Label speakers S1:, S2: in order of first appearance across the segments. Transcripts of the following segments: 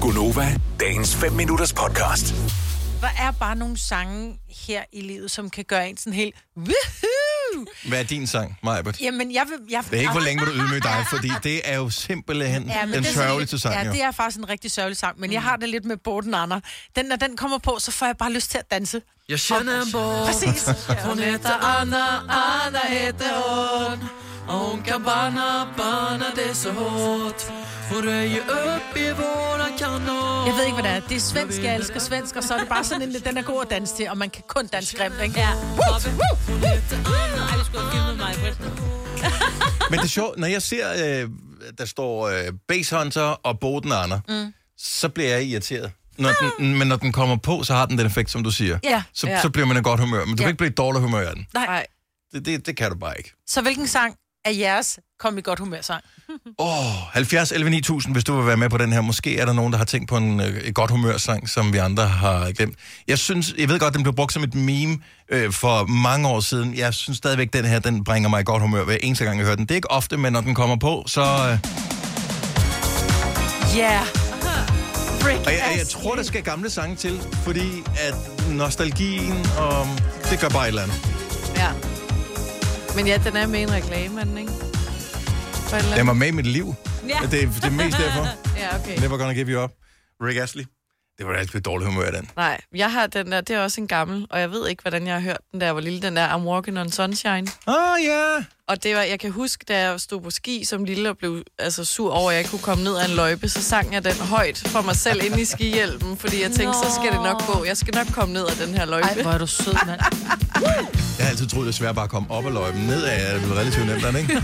S1: Gunova, dagens 5 minutters podcast.
S2: Der er bare nogle sange her i livet, som kan gøre en sådan helt... Woohoo!
S3: Hvad er din sang, Majbert?
S2: Jamen, jeg vil... Jeg, Ah,
S3: Det er ikke, hvor længe vil du ydmyge dig, fordi det er jo simpelthen ja,
S2: men
S3: den
S2: det er sådan
S3: sørgeligste
S2: lidt-
S3: sang,
S2: Ja,
S3: jo.
S2: det er faktisk en rigtig sørgelig sang, men jeg har det lidt med Borten Anna. Den, når den kommer på, så får jeg bare lyst til at danse.
S4: Jeg kender en bog,
S2: Præcis.
S4: hun heter Anna, Anna heter hun. Og hun kan banne, banne det så hårdt. Hun røg op i vore kanon.
S2: Jeg ved ikke, hvad det er. Det er svensk, jeg elsker svensk, og så er det bare sådan en... Den er god at danse til, og man kan kun danse grimt, ikke?
S5: Ja, hoppe. Ej, du skulle have filmet mig, Britt.
S3: Men det er sjovt, når jeg ser, øh, der står øh, Base Hunter og Boden Anna, mm. så bliver jeg irriteret. Når den, men når den kommer på, så har den den effekt, som du siger.
S2: Ah. Ja.
S3: Så,
S6: Ja.
S3: så bliver man i godt humør, men
S2: Ja.
S3: du ja. kan ikke blive i dårlig humør af den.
S2: Nej.
S6: Nej.
S3: Det, det, det kan du bare ikke.
S2: Så hvilken sang er jeres kom i godt humør sang?
S3: Åh, oh, 70 11 9000, hvis du vil være med på den her. Måske er der nogen, der har tænkt på en øh, et godt humørsang, som vi andre har glemt. Jeg synes, jeg ved godt, den blev brugt som et meme øh, for mange år siden. Jeg synes stadigvæk, den her, den bringer mig i godt humør hver eneste gang, jeg hører den. Det er ikke ofte, men når den kommer på, så... Øh,
S2: Yeah. Break
S3: og jeg, jeg tror, der skal gamle sange til, fordi at nostalgien, og det gør bare et eller andet.
S6: Ja. Men ja, den er med i en reklame, er den ikke? For et eller
S3: Den
S6: andet.
S3: var med i mit liv.
S5: Ja.
S3: Det, det er mest derfor.
S6: Ja, okay.
S3: Never gonna give you up. Rick Astley. Det var da altid dårlig humør, den.
S6: Nej, jeg har den der, det er også en gammel, og jeg ved ikke, hvordan jeg har hørt den der, jeg var lille, den der I'm Walking on Sunshine.
S3: Ah, ja. Yeah.
S6: Og det var, jeg kan huske, da jeg stod på ski som lille og blev altså, sur over, at jeg ikke kunne komme ned ad en løjpe, så sang jeg den højt for mig selv inde i skihjelmen, fordi jeg tænkte, så skal det nok gå. Jeg skal nok komme ned ad den her løjpe.
S2: Ej, hvor er du sød, mand.
S3: Jeg har altid troet, det er svært bare at komme op ad løjpen. Nedad er det vel relativt nemt, er det ikke?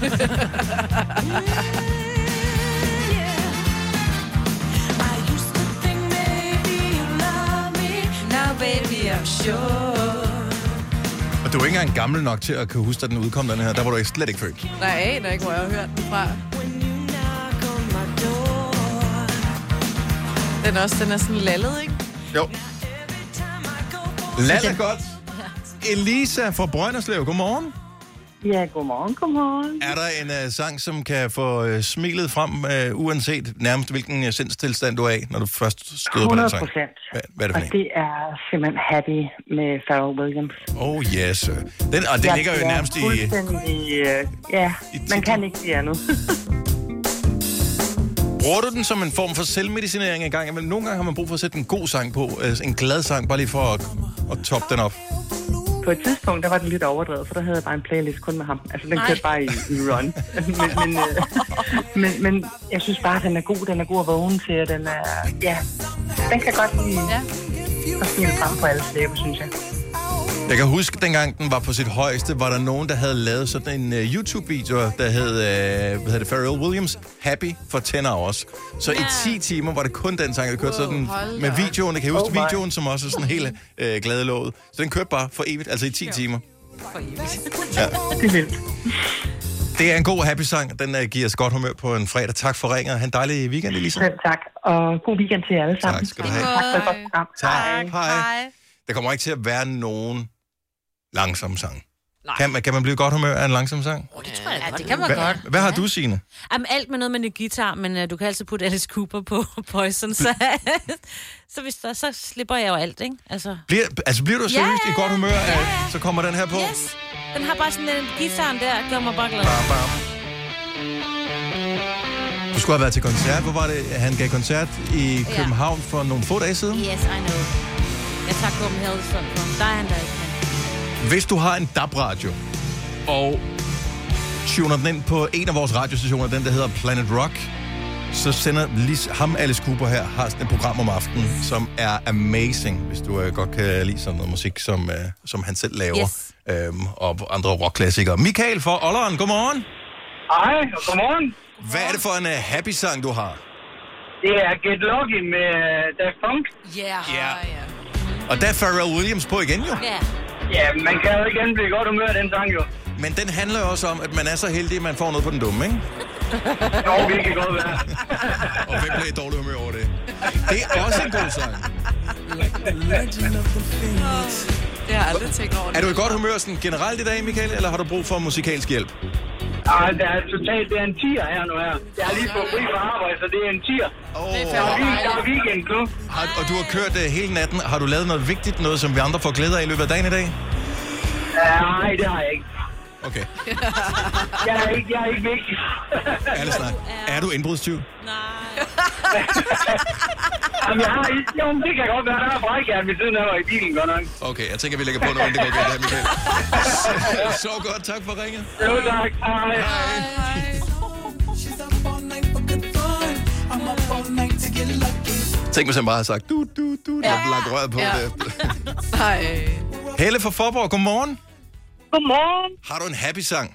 S3: Og du er ikke engang gammel nok til at kunne huske, at den udkom, den her. Der var du ikke- slet ikke født.
S6: Nej, jeg aner ikke, hvor jeg har hørt den fra. Den er også, den er sådan lallet, ikke?
S3: Jo. Lad det godt. Elisa fra Brønderslev, godmorgen.
S7: Ja, godmorgen, godmorgen.
S3: Er der en uh, sang, som kan få uh, smilet frem, uh, uanset nærmest hvilken uh, sindstilstand du er i, når du først støder på den
S7: 100
S3: sang?
S7: procent.
S3: altså- Hvad, hvad er
S7: Og
S3: det for en?
S7: det er simpelthen Happy med Pharrell Williams.
S3: Oh yes. sir. Den, og den ligger jo nærmest i...
S7: Fuldstændig, øh, ja,
S3: i
S7: man
S3: titlen.
S7: kan ikke sige andet.
S3: Bruger du den som en form for selvmedicinering en gang imellem? Nogle gange har man brug for at sætte en god sang på, øh, en glad sang, bare lige for at, at toppe den op.
S7: På et tidspunkt, der var den lidt overdrevet, for der havde jeg bare en playlist kun med ham. Altså, den kørte bare i, i run. men, men, øh, men, men jeg synes bare, den er god. Den er god at vågne til, og den er... Ja, den kan godt lide
S6: Ja.
S7: at smile frem på alle slæber, synes jeg.
S3: Jeg kan huske, dengang den var på sit højeste, var der nogen, der havde lavet sådan en uh, YouTube-video, der hed, uh, hvad hed det, Pharrell Williams, Happy for 10 Hours. Så i 10 timer var det kun den sang, der kørte
S6: Wow,
S3: sådan
S6: hold
S3: med
S6: da op.
S3: videoen. Jeg kan huske
S7: Oh
S3: oh
S7: my.
S3: videoen, som også er sådan helt uh, glad lovet. Så den kørte bare for evigt, altså i 10 timer.
S7: Det er vildt.
S3: Det er en god happy-sang. Den uh, giver os godt humør på en fredag. Tak for ringet. Ha' en dejlig weekend, Elisa.
S7: Selv tak. Og god weekend til jer alle sammen.
S3: skal du have.
S7: Tak for et godt program.
S3: Tak. Hej. Hej. Der kommer ikke til at være nogen langsom sang. Kan man, kan man blive i godt humør af en langsom sang?
S5: Oh, det tror jeg
S2: Ja, det kan man
S3: Hva,
S2: godt.
S3: hvad har du, Signe?
S5: Jamen, alt med noget med en guitar, men uh, du kan altid putte Alice Cooper på Poison, så, så, hvis der, så slipper jeg jo alt, ikke? Altså,
S3: Bliver, altså, bliver du seriøst
S5: ja,
S3: i godt humør,
S5: ja,
S3: af,
S5: ja.
S3: så kommer den her på?
S5: yes! Den har bare sådan en guitaren der, gør mig bare glad.
S3: Bam, bam. Du skulle have været til koncert. Hvor var det, han gav koncert i
S5: Ja.
S3: København for nogle få dage siden?
S5: Yes, I know. Jeg tager Copenhagen sådan for Der er han der ikke.
S3: Hvis du har en DAB-radio, og tuner den ind på en af vores radiostationer, den der hedder Planet Rock, så sender lige ham, Alice Cooper her, har sådan et program om aftenen, som er amazing, hvis du øh, godt kan lide sådan noget musik, som, øh, som han selv laver,
S5: Yes.
S3: øhm, og andre rockklassikere. Michael fra Olleren, godmorgen!
S8: Hej, og godmorgen.
S3: Hvad er det for en øh, happy-sang, du har?
S8: Det er Get Lucky med øh, Daft Punk.
S6: Yeah.
S3: Ja. Og der er Pharrell Williams på igen jo.
S5: Ja.
S8: Ja, man kan jo igen blive i godt humør af den sang jo.
S3: Men den handler jo også om, at man er så heldig, at man får noget på den dumme, ikke?
S8: Jo, vi kan godt være.
S3: Og hvem bliver i dårlig humør over det? Det er også en god sang.
S6: Det har jeg aldrig tænkt over.
S3: Er du i godt humør sådan generelt i dag, Michael, eller har du brug for musikalsk hjælp?
S8: Ej, der er totalt, det er en tier her nu her. Jeg har lige fået fri fra arbejde, så det er en tier.
S3: Oh.
S8: Vi der er weekend nu.
S3: Har, og du har kørt uh, hele natten. Har du lavet noget vigtigt, noget som vi andre får glæde af i løbet af dagen i dag?
S8: Nej, det har jeg ikke.
S3: Okay,
S8: Jeg er ikke, jeg er ikke vigtig.
S3: ærlig snak. Er du indbrudstyv?
S8: Jamen, jeg har ikke, jo, men det kan godt være, der er brækjern ved siden af mig i bilen godt nok.
S3: Okay, jeg tænker, vi lægger på noget, inden det går galt her, Michael. Så, så godt, tak for ringet.
S8: Jo, tak. Hej.
S3: Tænk, hvis han bare har sagt, du, du, du, ja. lagt røret på ja. det.
S6: Nej.
S3: Helle fra Forborg, godmorgen.
S9: Godmorgen.
S3: Har du en happy sang?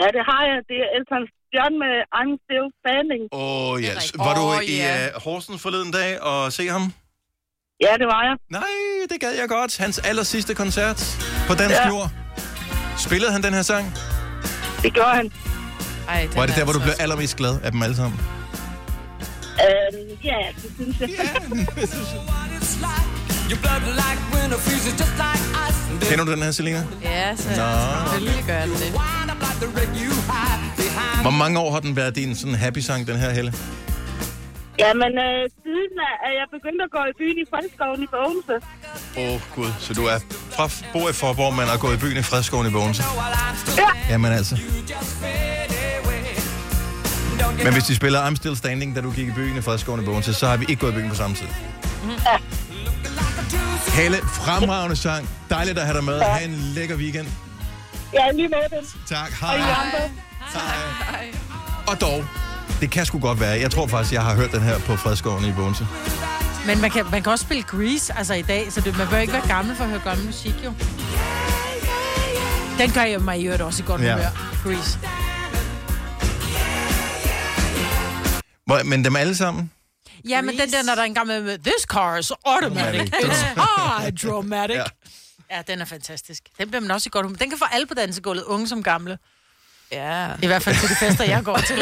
S9: Ja, det har jeg. Det er Elton John med I'm Still Standing.
S3: Åh, oh, yes.
S5: rigtigt.
S3: Var du
S6: Åh,
S3: i
S6: ja.
S3: uh, Horsens forleden dag og se ham?
S9: Ja, det var jeg.
S3: Nej, det gad jeg godt. Hans aller sidste koncert på dansk ja.
S9: Ja.
S3: jord. Spillede han den her sang?
S9: Det gjorde han.
S6: Ej, den
S3: Var det
S6: er
S3: der, hvor du
S6: altså
S3: blev
S6: også-
S3: allermest glad af dem alle sammen?
S9: Øhm, ja, det synes jeg.
S3: Kender du den her, Selina?
S6: Ja, så
S3: Nå.
S6: selvfølgelig gør den det.
S3: Hvor mange år har den været din sådan happy sang, den her, Helle?
S9: Jamen, øh, siden at jeg begyndte at gå i byen i Folkeskoven i Bogense.
S3: Åh, oh, gud. Så du er fra, bor i Forborg, men har gået i byen i Fredskoven i Bogense?
S9: Ja.
S3: Jamen altså. Men hvis de spiller I'm Still Standing, da du gik i byen i Fredskoven i Bogense, så har vi ikke gået i byen på samme tid. Helle, fremragende sang. Dejligt at have dig med. Ha' en lækker weekend.
S9: Ja, lige med den.
S3: Tak. Hej. Hej. Og dog, det kan sgu godt være. Jeg tror faktisk, jeg har hørt den her på Fredskoven i Bogense.
S2: Men man kan, man kan også spille Grease altså i dag, så det, man bør ikke være gammel for at høre gammel musik, jo. Den gør jeg mig i øvrigt også i godt
S3: Ja.
S2: ja. humør, Grease.
S3: Hvor- Men dem alle sammen?
S2: Ja, men den der, når der er en gammel med, this car is automatic,
S3: Automatic.
S2: it's hydromatic.
S3: Ja.
S2: ja. ja, den er fantastisk. Den bliver man også i godt humør. Den kan få alle på dansegulvet, unge som gamle.
S6: Ja.
S2: I hvert fald til de fester, jeg går til.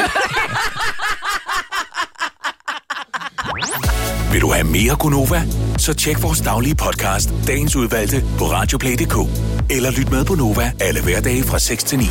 S1: Vil du have mere Gunova? Så tjek vores daglige podcast, dagens udvalgte, på radioplay.dk. Eller lyt med på Nova alle hverdage fra 6 til 9.